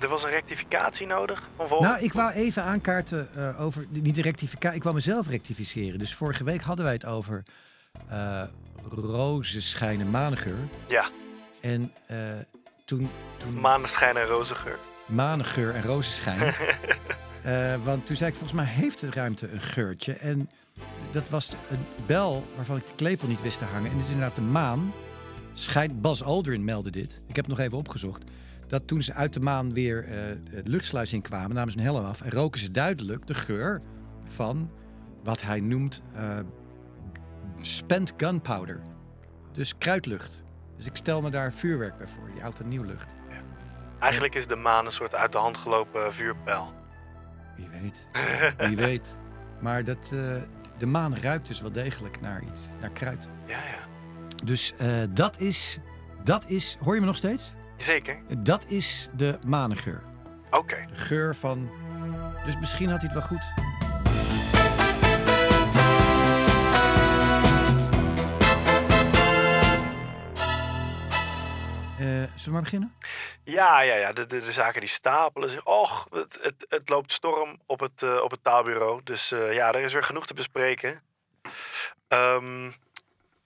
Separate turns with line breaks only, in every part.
er was een rectificatie nodig van volgende
Nou, ik wou even aankaarten eh, over. Niet de rectificatie. Ik wou mezelf rectificeren. Dus vorige week hadden wij het over. eh rozen schijnen manengeur.
Ja,
En eh, toen. toen
maneschijn en rozengeur.
manengeur en rozenschijn. Eh, want toen zei ik, volgens mij heeft de ruimte een geurtje. En dat was een bel waarvan ik de klepel niet wist te hangen. En dit is inderdaad de maan. Schijnt, Bas Aldrin meldde dit. Ik heb het nog even opgezocht. Dat toen ze uit de maan weer eh de luchtsluis in kwamen, namen ze hun helm af. En roken ze duidelijk de geur van wat hij noemt eh, spent gunpowder. Dus kruidlucht. Dus ik stel me daar vuurwerk bij voor, die oud en nieuw lucht.
Eigenlijk is de maan een soort uit de hand gelopen vuurpijl.
Wie weet. Wie weet. Maar dat, eh, de maan ruikt dus wel degelijk naar iets, naar kruid.
Ja, ja.
Dus eh, dat is, dat is, hoor je me nog steeds?
Zeker.
Dat is de manengeur.
Oké.
De geur van, dus misschien had hij het wel goed. Eh, zullen we maar beginnen?
Ja, ja, ja. De, de, de zaken die stapelen zich. Och, het, het, het loopt storm op het, eh, op het taalbureau. Dus eh, ja, er is weer genoeg te bespreken. Ehm,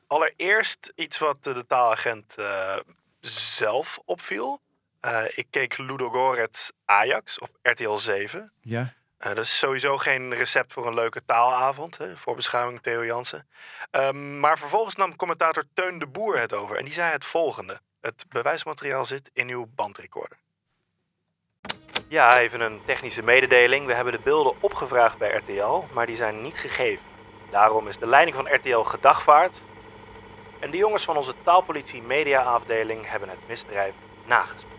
allereerst iets wat eh, de taalagent eh, zelf opviel. Eh, ik keek Ludogorets Ajax op RTL 7.
Ja.
Eh, dat is sowieso geen recept voor een leuke taalavond. Hè? Voorbeschouwing Theo Jansen. Ehm, maar vervolgens nam commentator Teun de Boer het over. En die zei het volgende. Het bewijsmateriaal zit in uw bandrecorder. Ja, even een technische mededeling. We hebben de beelden opgevraagd bij RTL, maar die zijn niet gegeven. Daarom is de leiding van RTL gedagvaard. En de jongens van onze taalpolitie mediaafdeling hebben het misdrijf nagesproken.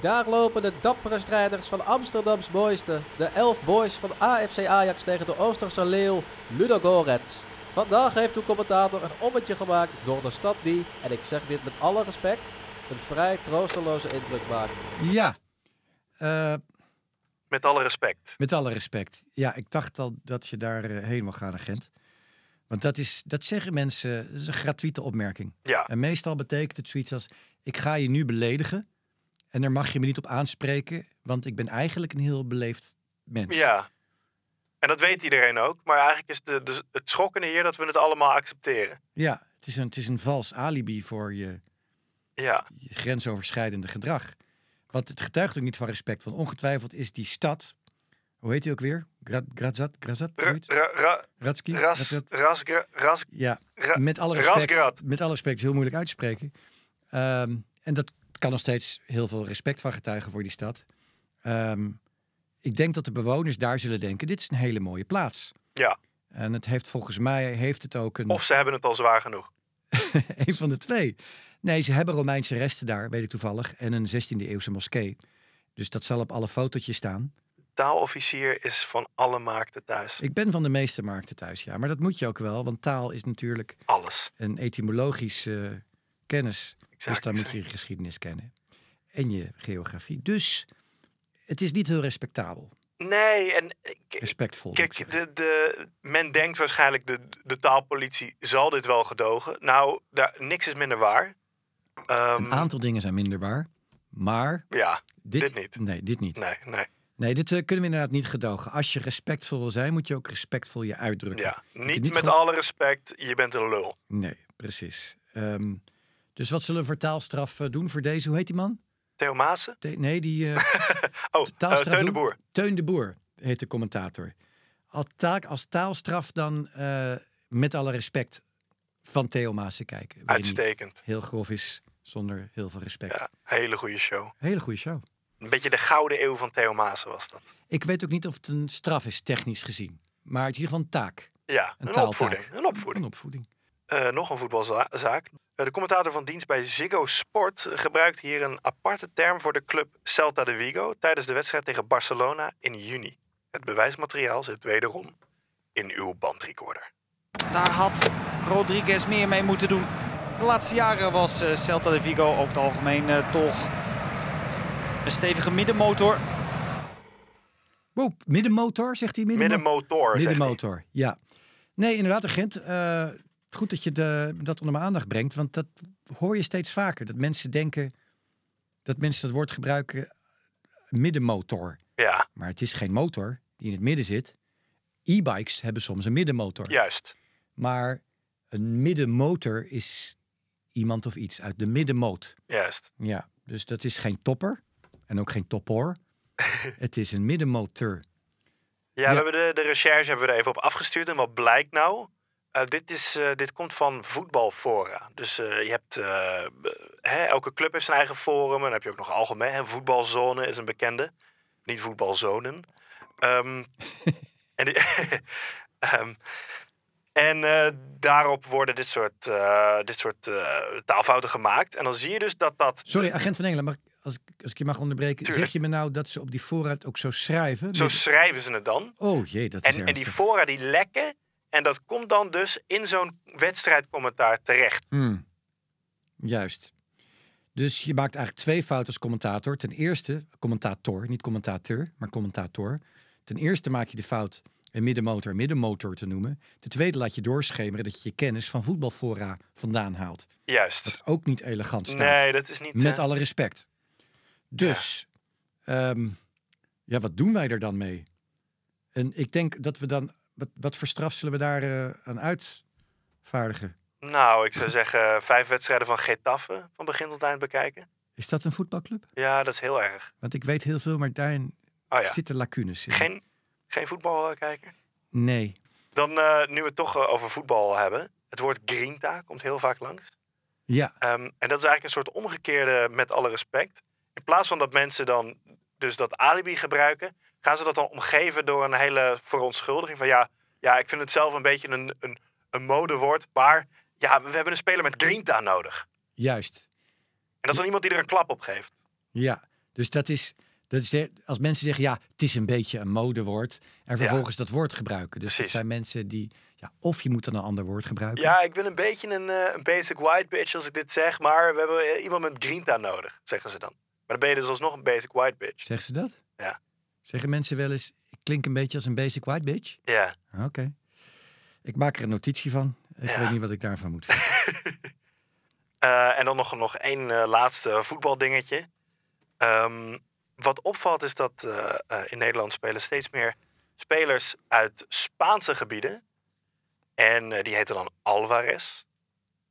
Daar lopen de dappere strijders van Amsterdams mooiste, de elf boys van AFC Ajax tegen de Oosterse leeuw Ludo Gorets. Vandaag heeft uw commentator een ommetje gemaakt door de stad die, en ik zeg dit met alle respect, een vrij troosteloze indruk maakt.
Ja. Eh,
Met alle respect.
Met alle respect. Ja, ik dacht al dat je daar eh, heen wil gaan, agent. Want dat, is, dat zeggen mensen, dat is een gratuite opmerking.
Ja,
En meestal betekent het zoiets als, ik ga je nu beledigen en daar mag je me niet op aanspreken, want ik ben eigenlijk een heel beleefd mens.
Ja. En dat weet iedereen ook. Maar eigenlijk is de, de, het schokkende hier dat we het allemaal accepteren.
ja het, is een, het is een vals alibi voor je,
Ja,
je grensoverschrijdende gedrag. Want het getuigt ook niet van respect, want ongetwijfeld is die stad, hoe heet die ook weer? Gra- Grazat? Grazat?
Ra-
zoiets?
ra- ra-
Ratski?
ras,
Grazat?
ras, gra- ras,
Ja,
ra-
met alle respect,
Rasgrad.
met alle respect, is heel moeilijk uit te spreken. Ehm, en dat kan nog steeds heel veel respect van getuigen voor die stad. Ehm, ik denk dat de bewoners daar zullen denken: dit is een hele mooie plaats.
Ja.
En het heeft volgens mij heeft het ook een,
Of ze hebben het al zwaar genoeg.
een van de twee. Nee, ze hebben Romeinse resten daar, weet ik toevallig, en een 16e-eeuwse moskee. Dus dat zal op alle fotootjes staan.
Taalofficier is van alle maakten thuis.
Ik ben van de meeste markten thuis, ja. Maar dat moet je ook wel, want taal is natuurlijk
Alles.
een etymologische eh, kennis. Dus
Exact,
dan moet
exact.
je je geschiedenis kennen. En je geografie. Dus het is niet heel respectabel.
Nee, en ik-
Respectvol. moet ik
Kijk,
zeggen.
de, de, men denkt waarschijnlijk de, de taalpolitie zal dit wel gedogen. Nou, daar, niks is minder waar. Ehm,
Een aantal dingen zijn minder waar. Maar
Ja,
dit,
dit niet.
Nee, dit niet. Nee,
nee, nee.
dit eh, kunnen we inderdaad niet gedogen. Als je respectvol wil zijn, moet je ook respectvol je uitdrukken.
Ja.
niet
Niet met
gewoon-
alle respect, je bent een lul.
Nee, precies. Ehm, dus wat zullen we voor taalstraf eh, doen voor deze? Hoe heet die man?
Theo Maassen?
Te- nee, die eh,
Oh,
De
eh
taalstraf
Teun de
doen?
Boer.
Teun de Boer heet de commentator. Als, taak, als taalstraf dan eh, met alle respect van Theo Maassen kijken. Waarin hij-
Uitstekend.
heel grof is, zonder heel veel respect.
Ja, hele goede show.
Hele goede show.
Een beetje de gouden eeuw van Theo Maassen was dat.
Ik weet ook niet of het een straf is, technisch gezien. Maar het is in ieder geval een taak.
Ja,
Een
een,
taaltaak.
opvoeding. Een opvoeding.
Een opvoeding.
Eh, nog een voetbalzaak. Eh, de commentator van dienst bij Ziggo Sport gebruikt hier een aparte term voor de club Celta de Vigo tijdens de wedstrijd tegen Barcelona in juni. Het bewijsmateriaal zit wederom in uw bandrecorder.
Daar had Rodriguez meer mee moeten doen. De laatste jaren was eh, Celta de Vigo over het algemeen eh, toch een stevige middenmotor.
Wow, middenmotor, zegt hij. Middenmo-
Middenmotor, zeg ik.
Middenmotor, ja. Nee, inderdaad, agent. eh, goed dat je de, dat onder mijn aandacht brengt. Want dat hoor je steeds vaker. Dat mensen denken, dat mensen dat woord gebruiken middenmotor.
Ja,
Maar het is geen motor die in het midden zit. E-bikes hebben soms een middenmotor.
juist.
Maar een middenmotor is iemand of iets uit de middenmoot.
Juist.
Ja, dus dat is geen topper en ook geen topper. het is een middenmotor.
Ja,
Ja.
we hebben de, de recherche hebben we er even op afgestuurd. En wat blijkt nou? Eh, dit, is, eh, dit komt van voetbalfora. Dus eh, je hebt, eh, be- hè, elke club heeft zijn eigen forum. En dan heb je ook nog algemeen. Hè, voetbalzone is een bekende. Niet voetbalzonen. Ehm, en, die- ehm, en eh, daarop worden dit soort, eh, dit soort eh, taalfouten gemaakt. En dan zie je dus dat dat...
Sorry, agent van Engeland, maar als, ik- als ik je mag onderbreken,
Tuurlijk.
zeg je me nou dat ze op die voorraad ook zo schrijven?
Zo
Midden-
schrijven ze het dan.
oh jee, dat is
En, en die
ernstig.
fora die lekken. En dat komt dan dus in zo'n wedstrijdcommentaar terecht.
Hmm. Juist. Dus je maakt eigenlijk twee fouten als commentator. Ten eerste, commentator, niet commentateur, maar commentator. Ten eerste maak je de fout een middenmotor een middenmotor te noemen. Ten tweede laat je doorschemeren dat je je kennis van voetbalfora vandaan haalt.
Juist.
Wat ook niet elegant staat.
Nee, dat is niet.
Met
eh,
alle respect. Dus, ja. ja, wat doen wij er dan mee? En ik denk dat we dan, wat, wat voor straf zullen we daar eh, aan uitvaardigen?
Nou, ik zou zeggen vijf wedstrijden van Getafe van begin tot eind bekijken.
Is dat een voetbalclub?
Ja, dat is heel erg.
Want ik weet heel veel, maar daarin
Oh ja.
zitten lacunes in.
Geen, geen voetbal eh, kijken.
Nee.
Dan eh, nu we het toch eh, over voetbal hebben. Het woord grinta komt heel vaak langs.
Ja,
Ehm, en dat is eigenlijk een soort omgekeerde met alle respect. In plaats van dat mensen dan dus dat alibi gebruiken, gaan ze dat dan omgeven door een hele verontschuldiging van ja, ja ik vind het zelf een beetje een, een, een modewoord, maar ja, we hebben een speler met grinta nodig.
juist.
En dat is dan iemand die er een klap op geeft.
Ja. Dus dat is, dat is de- als mensen zeggen, ja, het is een beetje een modewoord. En vervolgens dat woord gebruiken. Dus dat
Precies.
zijn mensen die, ja, of je moet dan een ander woord gebruiken.
Ja, ik ben een beetje een, eh, een basic white bitch als ik dit zeg, maar we hebben eh, iemand met grinta nodig, zeggen ze dan. Maar dan ben je dus alsnog een basic white bitch.
Zeggen ze dat?
Ja.
Zeggen mensen wel eens, ik klink een beetje als een basic white bitch? Ah,
Ja.
Oké. Ik maak er een notitie van. Ik
Ja.
weet niet wat ik daarvan moet vinden.
Eh, en dan nog, nog één eh, laatste voetbaldingetje. Ehm, wat opvalt is dat eh, eh, in Nederland spelen steeds meer spelers uit Spaanse gebieden. En eh, die heten dan Alvarez,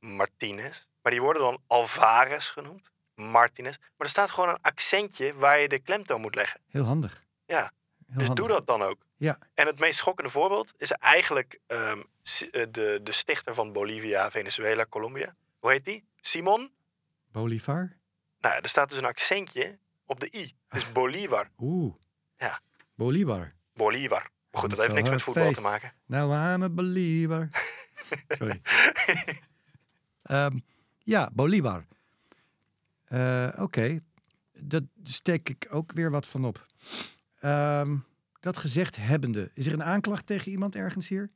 Martinez. Maar die worden dan Alvarez genoemd, Martinez. Maar er staat gewoon een accentje waar je de klemtoon moet leggen.
Heel handig.
Ja.
Heel
dus
handig.
doe dat dan ook.
Ja.
En het meest schokkende voorbeeld is eigenlijk ehm, Si- eh, de, de stichter van Bolivia, Venezuela, Colombia. Hoe heet die? Simon?
Bolivar?
Nou, ja, er staat dus een accentje op de i. Het
Ah.
is Bolivar.
Oeh.
Ja.
Bolivar.
Bolivar. Maar goed, dat
Zo
heeft niks met voetbal
feest.
te maken.
Nou, I'm a believer. Sorry. Ehm, ja, Bolivar. Eh, Oké, dat steek ik ook weer wat van op. Ehm, dat gezegd hebbende, is er een aanklacht tegen iemand ergens hier?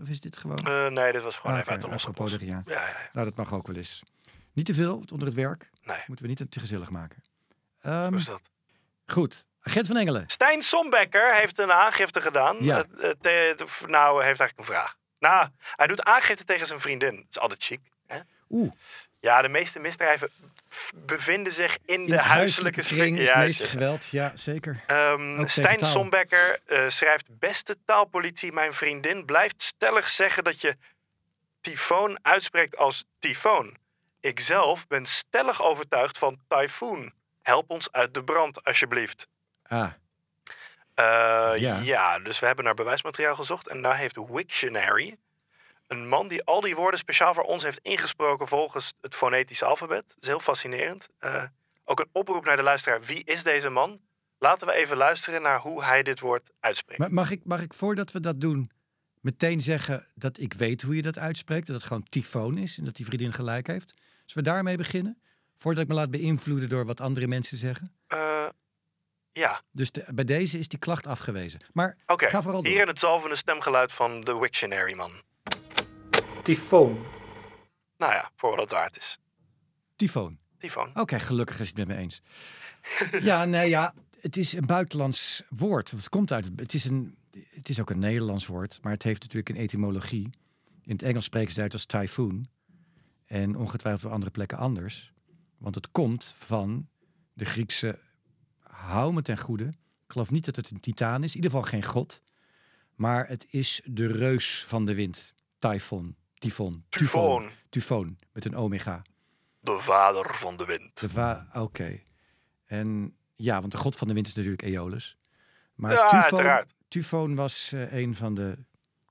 Of is dit gewoon...
Eh, nee, dit was gewoon
Ah,
even uit de
oké,
losse
apropos
post.
de Ria.
Ja, ja, ja.
Nou, dat mag ook wel eens. Niet te veel, want onder het werk
Nee,
moeten we niet te gezellig maken. Ehm,
hoe is dat?
goed, agent van Engelen.
Stijn Sombekker heeft een aangifte gedaan.
Ja.
Eh, eh, te- te- nou, hij heeft eigenlijk een vraag. Nou, hij doet aangifte tegen zijn vriendin. Dat is altijd chic. Hè?
Oeh,
Ja, de meeste misdrijven f- bevinden zich in,
in
de huiselijke
kring
sfeer.
is
Ja,
meest
juist.
geweld. Ja, zeker.
Ehm,
tegen
Stijn
taal.
Sombekker eh, schrijft: Beste taalpolitie, mijn vriendin blijft stellig zeggen dat je tyfoon uitspreekt als tyfoon. Ikzelf ben stellig overtuigd van tyfoon. Help ons uit de brand, alsjeblieft.
Ah,
Eh,
Ja.
ja. dus we hebben naar bewijsmateriaal gezocht. En daar heeft Wiktionary, een man die al die woorden speciaal voor ons heeft ingesproken volgens het fonetische alfabet. Dat is heel fascinerend. Eh, ook een oproep naar de luisteraar. Wie is deze man? Laten we even luisteren naar hoe hij dit woord uitspreekt.
Maar mag ik, mag ik voordat we dat doen meteen zeggen dat ik weet hoe je dat uitspreekt? Dat het gewoon tyfoon is en dat die vriendin gelijk heeft? Zullen we daarmee beginnen? Voordat ik me laat beïnvloeden door wat andere mensen zeggen.
Eh, ja,
Dus de- bij deze is die klacht afgewezen. Maar
oké.
ga vooral door.
Hier in het zalvende stemgeluid van de Wiktionary man.
Tyfoon.
Nou ja, voor wat het waard is.
Tyfoon.
Tyfoon.
Oké, gelukkig is het met me eens. ja, nee, ja. Het is een buitenlands woord. Het komt uit. Het is, een, het is ook een Nederlands woord, maar het heeft natuurlijk een etymologie. In het Engels spreken ze het uit als typhoon. En ongetwijfeld op andere plekken anders. Want het komt van de Griekse hou me ten goede. Ik geloof niet dat het een titaan is, in ieder geval geen god. Maar het is de reus van de wind. Typhon, tyfon, tyfoon,
Tyfoon,
tyfoon met een omega.
de vader van de wind.
De va- Oké. En ja, want de god van de wind is natuurlijk Aeolus. Maar
Ja,
tyfoon,
uiteraard.
tyfoon was eh, een van, de,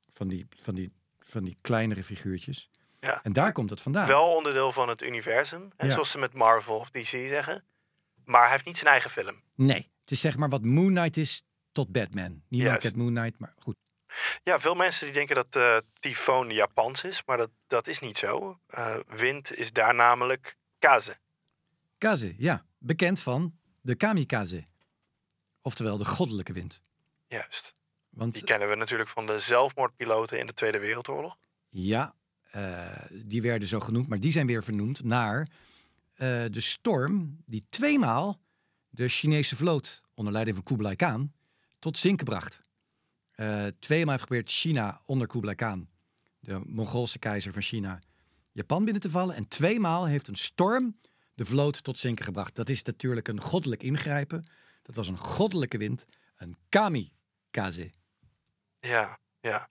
van, die, van, die, van die kleinere figuurtjes.
Ja.
En daar komt het vandaan.
Wel onderdeel van het universum. En
Ja.
zoals ze met Marvel of DC zeggen. Maar hij heeft niet zijn eigen film.
Nee, het is zeg maar wat Moon Knight is tot Batman. Niemand
Juist.
kent Moon Knight, maar goed.
Ja, veel mensen die denken dat eh tyfoon Japans is, maar dat, dat is niet zo. Eh, wind is daar namelijk kaze.
Kaze, ja. Bekend van de kamikaze. Oftewel de goddelijke wind.
Juist.
Want
Die kennen we natuurlijk van de zelfmoordpiloten in de Tweede Wereldoorlog.
Ja, eh, die werden zo genoemd, maar die zijn weer vernoemd naar eh, de storm die tweemaal de Chinese vloot onder leiding van Kublai Khan tot zinken bracht. Eh, tweemaal heeft geprobeerd China onder Kublai Khan, de Mongoolse keizer van China, Japan binnen te vallen. En tweemaal heeft een storm de vloot tot zinken gebracht. Dat is natuurlijk een goddelijk ingrijpen. Dat was een goddelijke wind, een kamikaze.
Ja, ja.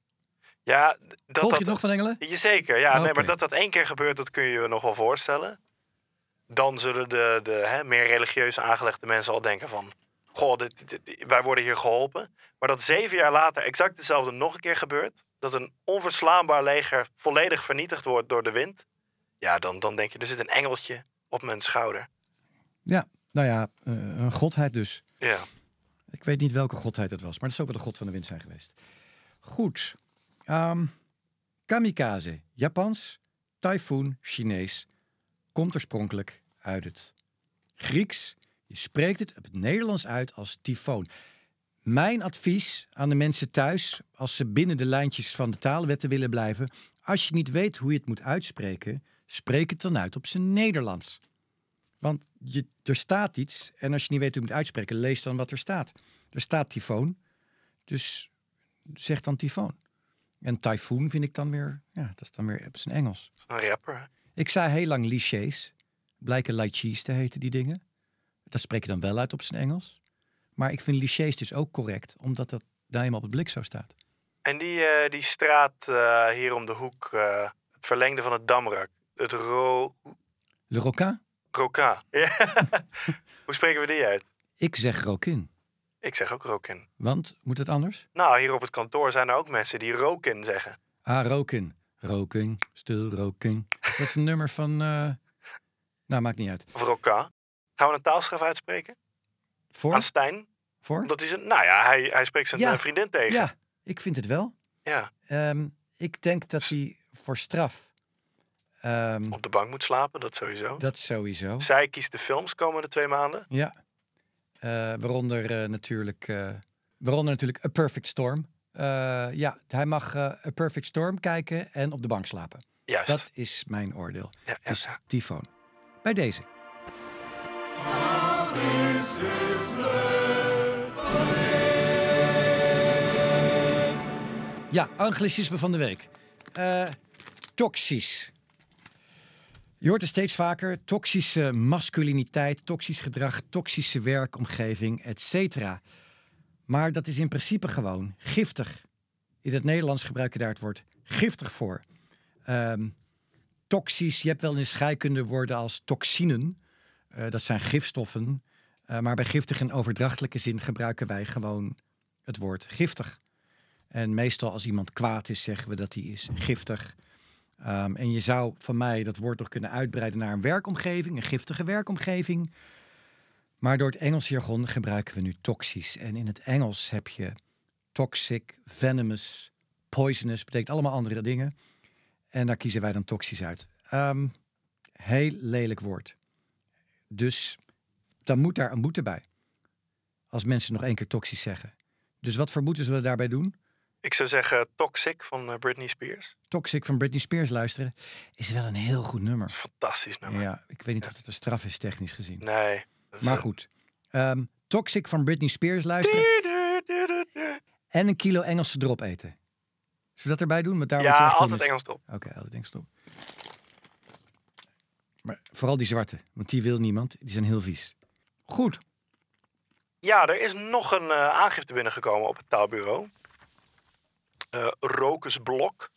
Ja, d- dat,
Volg je
dat,
het nog van Engelen?
Jazeker, ja. Nee,
Oké.
maar dat dat één keer gebeurt, dat kun je je nog wel voorstellen. Dan zullen de, de hè, meer religieus aangelegde mensen al denken van... Goh, dit, dit- dit- wij worden hier geholpen. Maar dat zeven jaar later exact hetzelfde nog een keer gebeurt... dat een onverslaanbaar leger volledig vernietigd wordt door de wind... ja, dan, dan denk je, er zit een engeltje op mijn schouder.
Nou ja, eh, een godheid dus.
Ja.
Ik weet niet welke godheid het was, maar het zou ook wel de god van de wind zijn geweest. Goed. Ehm, kamikaze, Japans, tyfoon, Chinees, komt oorspronkelijk uit het Grieks. Je spreekt het op het Nederlands uit als tyfoon. Mijn advies aan de mensen thuis, als ze binnen de lijntjes van de taalwetten willen blijven, als je niet weet hoe je het moet uitspreken, spreek het dan uit op zijn Nederlands. Want je, er staat iets en als je niet weet hoe je het moet uitspreken, lees dan wat er staat. Er staat tyfoon, dus zeg dan tyfoon. En tyfoon vind ik dan weer, ja, dat is dan weer op zijn Engels.
Een rapper.
Ik zei heel lang lichés, blijken lychees te heten die dingen. Dat spreek je dan wel uit op zijn Engels. Maar ik vind lichés dus ook correct, omdat dat daar helemaal op het blik zo staat.
En die, eh, die straat eh, hier om de hoek... eh, het verlengde van het Damrak. Het Ro...
Le Roquin?
Roca. Ja. Hoe spreken we die uit?
Ik zeg Rokin,
Ik zeg ook Rokin.
want moet het anders?
Nou, hier op het kantoor zijn er ook mensen die Rokin zeggen.
Ah, Rokin. Rokin, stil Rokin. Is Dat is een nummer van, eh, nou maakt niet uit.
Of Roka. Gaan we een taalschrift uitspreken?
Voor?
Aan Stijn?
Voor?
Omdat hij zijn... Nou ja, hij, hij spreekt zijn
Ja.
eh, vriendin tegen.
Ja, ik vind het wel.
Ja.
Ehm, ik denk dat hij voor straf. ehm,
Op de bank moet slapen, dat sowieso.
dat sowieso.
Zij kiest de films komende twee maanden.
Ja. Eh, waaronder, eh, natuurlijk, eh, waaronder natuurlijk A Perfect Storm. Eh, ja, hij mag eh, A Perfect Storm kijken en op de bank slapen.
Juist.
Dat is mijn oordeel.
Ja, ja,
Dus
ja.
tyfoon. Bij deze. Ja, anglicisme van de week. Eh, toxisch. Je hoort het steeds vaker. Toxische masculiniteit, toxisch gedrag, toxische werkomgeving, et cetera. Maar dat is in principe gewoon giftig. In het Nederlands gebruik je daar het woord giftig voor. Ehm, toxisch. Je hebt wel in scheikunde woorden als toxinen. Eh, dat zijn gifstoffen. Eh, maar bij giftig in overdrachtelijke zin gebruiken wij gewoon het woord giftig. En meestal als iemand kwaad is, zeggen we dat hij is giftig. Ehm, en je zou van mij dat woord nog kunnen uitbreiden naar een werkomgeving, een giftige werkomgeving. Maar door het Engels jargon gebruiken we nu toxisch. En in het Engels heb je toxic, venomous, poisonous, betekent allemaal andere dingen. En daar kiezen wij dan toxisch uit. Ehm, heel lelijk woord. Dus dan moet daar een boete bij. Als mensen nog één keer toxisch zeggen. Dus wat voor boete zullen we daarbij doen?
Ik zou zeggen Toxic van eh, Britney Spears.
Toxic van Britney Spears luisteren is wel een heel goed nummer.
Fantastisch nummer.
Ja, ik weet niet of het een straf is technisch gezien.
Nee. dat is
Maar
een-
goed. Ehm, toxic van Britney Spears luisteren en een kilo Engelse drop eten. Zullen we dat erbij doen? Want daar word je
Ja,
echt wel
altijd
mis-
Engels op.
Oké, altijd denk stop. Maar vooral die zwarte, want die wil niemand. Die zijn heel vies. Goed.
Ja, er is nog een eh, aangifte binnengekomen op het taalbureau. Eh Rokus Blok.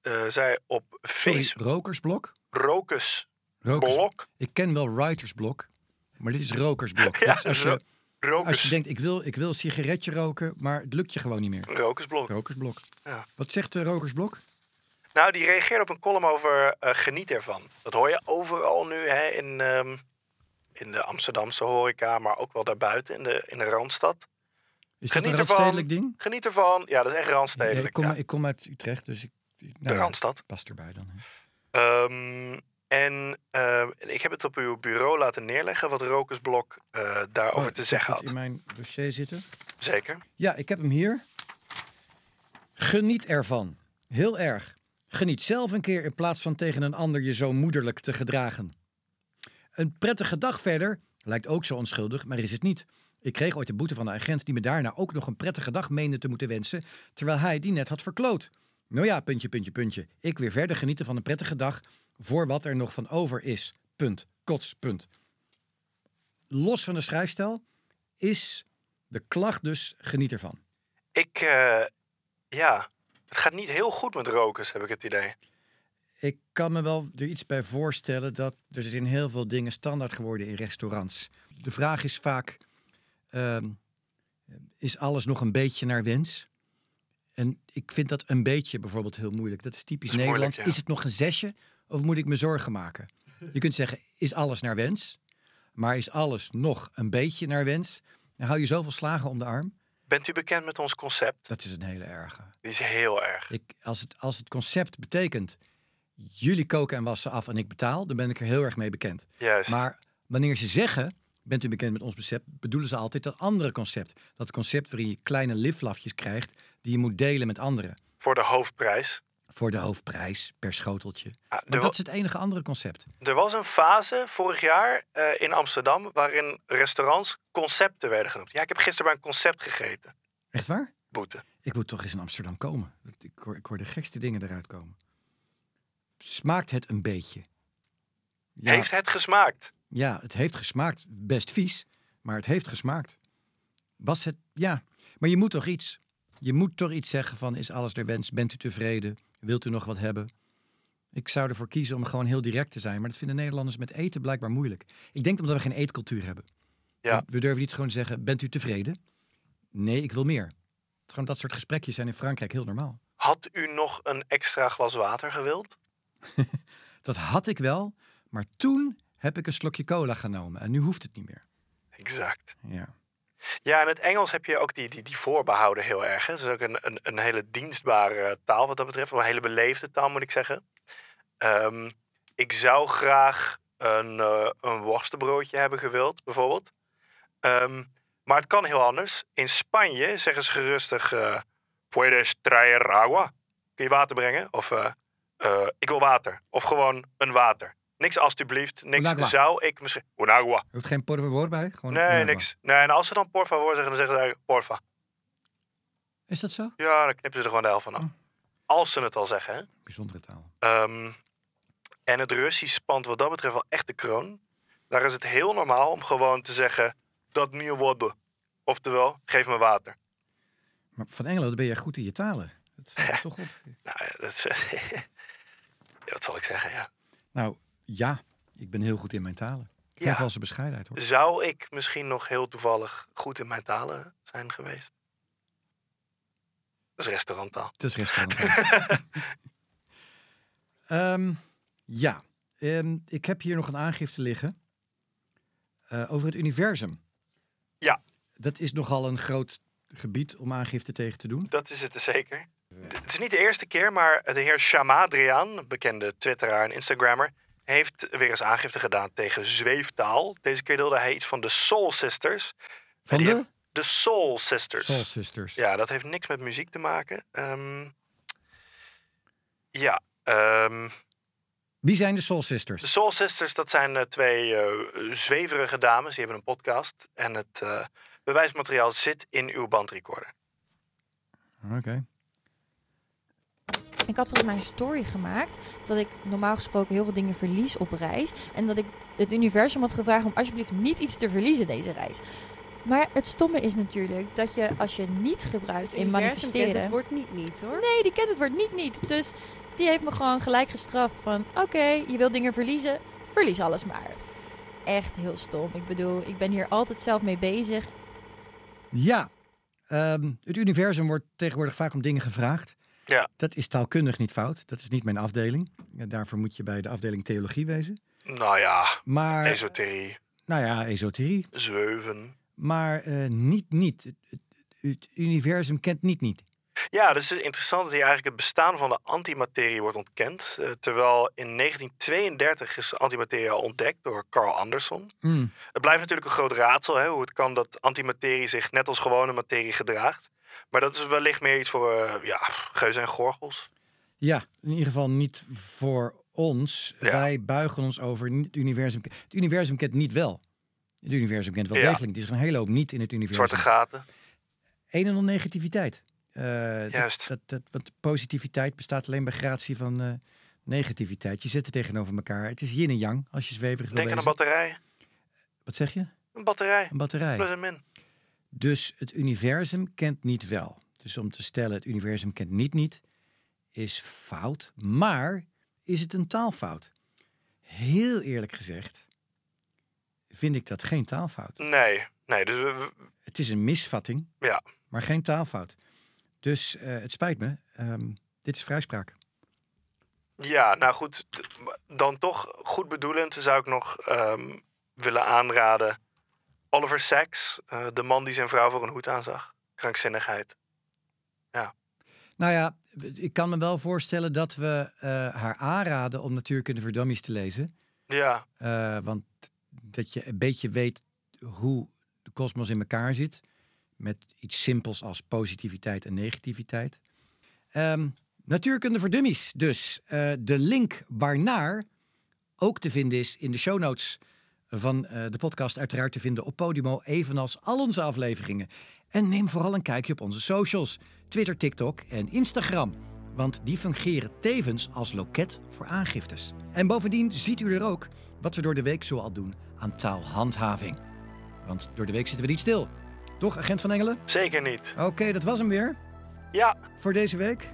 eh, zij op
Sorry,
Facebook.
rokersblok?
Rokus
Rokers,
Blok.
ik ken wel writersblok, maar dit is rokersblok.
Ja,
Dat is als, je, als je
Rokus.
denkt, ik wil, ik wil een sigaretje roken, maar het lukt je gewoon niet meer.
Rokus Blok.
Rokersblok.
Ja.
Wat zegt de rokersblok?
Nou, die reageerde op een column over eh, geniet ervan. Dat hoor je overal nu hè, in, ehm, in de Amsterdamse horeca, maar ook wel daarbuiten in de, in de Randstad.
Is dat
Geniet
een
ervan.
randstedelijk ding?
Geniet ervan. Ja, dat is echt
Ja,
randstedelijk.
ik, kom,
ja.
ik kom uit Utrecht, dus ik... Nou,
de
ja,
Randstad.
past erbij dan. hè.
Ehm, en ehm, ik heb het op uw bureau laten neerleggen wat Rokus Blok eh, daarover
Oh,
te
ik
zeggen
heb
had.
het in mijn dossier zitten.
Zeker.
Ja, ik heb hem hier. Geniet ervan. Heel erg. Geniet zelf een keer in plaats van tegen een ander je zo moederlijk te gedragen. Een prettige dag verder lijkt ook zo onschuldig, maar is het niet. Ik kreeg ooit de boete van de agent die me daarna ook nog een prettige dag meende te moeten wensen, terwijl hij die net had verkloot. Nou ja, puntje, puntje, puntje. Ik weer verder genieten van een prettige dag voor wat er nog van over is. Punt. Kots. Punt. Los van de schrijfstijl is de klacht dus geniet ervan.
Ik, eh, ja, het gaat niet heel goed met Rokus, heb ik het idee.
Ik kan me wel er iets bij voorstellen dat er zijn heel veel dingen standaard geworden in restaurants. De vraag is vaak: ehm, is alles nog een beetje naar wens? En ik vind dat een beetje bijvoorbeeld heel moeilijk. Dat is typisch
Dat is moeilijk,
Nederlands.
ja.
Is het nog een zesje of moet ik me zorgen maken? Je kunt zeggen: is alles naar wens? Maar is alles nog een beetje naar wens? Dan hou je zoveel slagen om de arm.
Bent u bekend met ons concept?
Dat is een hele erge.
Die is heel erg.
Ik, als, het, als het concept betekent, jullie koken en wassen af en ik betaal, dan ben ik er heel erg mee bekend.
Juist.
Maar wanneer ze zeggen, bent u bekend met ons concept, bedoelen ze altijd dat andere concept. Dat concept waarin je kleine liflafjes krijgt die je moet delen met anderen.
Voor de hoofdprijs.
Voor de hoofdprijs per schoteltje.
Ah,
Maar
er,
dat is het enige andere concept.
wa- er was een fase vorig jaar eh, in Amsterdam waarin restaurants concepten werden genoemd. Ja, ik heb gisteren bij een concept gegeten.
Echt waar?
Boete.
Ik moet toch eens in Amsterdam komen. Ik hoor, ik hoor de gekste dingen eruit komen. Smaakt het een beetje? Ja,
Heeft het gesmaakt?
Ja, het heeft gesmaakt. Best vies, maar het heeft gesmaakt. Was het, ja. Maar je moet toch iets. Je moet toch iets zeggen van, is alles naar wens? Bent u tevreden? Wilt u nog wat hebben? Ik zou ervoor kiezen om gewoon heel direct te zijn. Maar dat vinden Nederlanders met eten blijkbaar moeilijk. Ik denk omdat we geen eetcultuur hebben.
Ja.
We, we durven niet gewoon te zeggen, bent u tevreden? Nee, ik wil meer. Gewoon dat soort gesprekjes zijn in Frankrijk heel normaal.
Had u nog een extra glas water gewild?
Dat had ik wel, maar toen heb ik een slokje cola genomen. En nu hoeft het niet meer.
Exact.
Ja.
Ja, in het Engels heb je ook die, die, die voorbehouden heel erg. Hè. Het is ook een, een, een hele dienstbare taal wat dat betreft. Een hele beleefde taal, moet ik zeggen. Ehm, ik zou graag een, eh, een worstenbroodje hebben gewild, bijvoorbeeld. Ehm, maar het kan heel anders. In Spanje zeggen ze gerustig... eh, Puedes traer agua? Kun je water brengen? Of eh, eh, ik wil water. Of gewoon een water. Niks alstublieft. Niks
Un agua.
zou ik misschien... Un agua.
Er hoeft geen por favor bij? Gewoon
Nee,
Nou,
niks. Nee, en als ze dan porfa voor zeggen, dan zeggen ze eigenlijk porfa.
Is dat zo?
Ja, dan knippen ze er gewoon de helft van af. Als ze het al zeggen, hè.
Bijzondere taal.
Ehm, en het Russisch spant wat dat betreft wel echt de kroon. Daar is het heel normaal om gewoon te zeggen, dat nieuw worden. Oftewel, geef me water.
Maar van Engeland ben je goed in je talen. Dat valt me toch op.
Nou, ja, dat, ja, wat zal ik zeggen, ja.
Nou, ja, ik ben heel goed in mijn talen. Geen
Ja. Dus-
valse bescheidenheid hoor.
Zou ik misschien nog heel toevallig goed in mijn talen zijn geweest? Dat is restauranttaal.
Het is restaurant. Ehm, ja, Ehm, ik heb hier nog een aangifte liggen eh, over het universum.
Ja.
Dat is nogal een groot gebied om aangifte tegen te doen.
Dat is het dus zeker. D- Het is niet de eerste keer, maar de heer Shamadrian, bekende twitteraar en instagrammer, heeft weer eens aangifte gedaan tegen zweeftaal. Deze keer deelde hij iets van de Soul Sisters.
Van
die
de
De Soul Sisters.
Soul Sisters.
Ja, dat heeft niks met muziek te maken. Ehm, ja, ehm,
Wie zijn de Soul
de
Sisters?
Soul Sisters, dat zijn eh, twee eh, zweverige dames. Die hebben een podcast. En het eh, bewijsmateriaal zit in uw bandrecorder.
Oké.
Ik had volgens mij een story gemaakt dat ik normaal gesproken heel veel dingen verlies op reis. En dat ik het universum had gevraagd om alsjeblieft niet iets te verliezen deze reis. Maar het stomme is natuurlijk dat je als je niet gebruikt in manifesteren...
Het wordt niet niet hoor.
Nee, die kent het woord niet niet. Dus die heeft me gewoon gelijk gestraft van... Oké, je wil dingen verliezen, verlies alles maar. Echt heel stom. Ik bedoel, ik ben hier altijd zelf mee bezig.
Ja, ehm, het universum wordt tegenwoordig vaak om dingen gevraagd.
Ja.
Dat is taalkundig niet fout. Dat is niet mijn afdeling. Ja, daarvoor moet je bij de afdeling theologie wezen.
Nou ja,
Maar,
esoterie,
nou ja, esoterie.
zeuven.
Maar eh, niet niet. Het, het- het universum kent niet niet.
Ja, dus het is interessant dat hier eigenlijk het bestaan van de antimaterie wordt ontkend. eh, terwijl in 1932 is antimaterie al ontdekt door Carl Anderson.
Mm.
Het blijft natuurlijk een groot raadsel hè, hoe het kan dat antimaterie zich net als gewone materie gedraagt. Maar dat is wellicht meer iets voor eh ja, geuzen en gorgels.
Ja, in ieder geval niet voor ons.
Ja.
Wij buigen ons over niet- het universum. Het universum kent niet wel. Het universum kent wel
Ja.
degelijk. Er is een hele hoop niet in het universum.
Zwarte gaten.
een en al negativiteit. Eh, dat-
Juist.
Dat, dat, want positiviteit bestaat alleen bij gratie van eh, negativiteit. Je zit er tegenover elkaar. Het is yin en yang, als je zweverig wil
Denk aan een
wezen.
batterij.
Wat zeg je?
Een batterij.
Een batterij.
Plus en min.
Dus het universum kent niet wel. Dus om te stellen, het universum kent niet niet, is fout. Maar is het een taalfout? Heel eerlijk gezegd vind ik dat geen taalfout.
Nee, nee. Dus we- we-
Het is een misvatting,
Ja.
maar geen taalfout. Dus eh, het spijt me, ehm, dit is vrijspraak.
ja, nou goed. d- Dan toch goed bedoelend zou ik nog ehm, willen aanraden. Oliver Sacks, eh, de man die zijn vrouw voor een hoed aanzag. Krankzinnigheid.
Nou ja, ik kan me wel voorstellen dat we eh, haar aanraden om Natuurkunde voor Dummies te lezen.
Ja,
Eh, want dat je een beetje weet hoe de kosmos in elkaar zit. Met iets simpels als positiviteit en negativiteit. Ehm, Natuurkunde voor dummies dus. Eh, de link waarnaar ook te vinden is in de show notes van eh, de podcast. Uiteraard te vinden op Podimo, evenals al onze afleveringen. En neem vooral een kijkje op onze socials. Twitter, TikTok en Instagram. Want die fungeren tevens als loket voor aangiftes. En bovendien ziet u er ook wat we door de week zoal doen aan taalhandhaving. Want door de week zitten we niet stil. Toch, agent van Engelen?
zeker niet.
Oké, dat was hem weer
Ja,
voor deze week.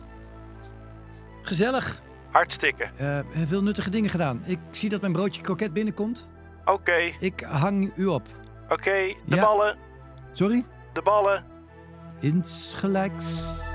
Gezellig.
hartstikke.
Eh, veel nuttige dingen gedaan. Ik zie dat mijn broodje kroket binnenkomt.
Oké,
Ik hang u op.
oké. De
Ja.
ballen,
Sorry?
de ballen.
Insgelijks.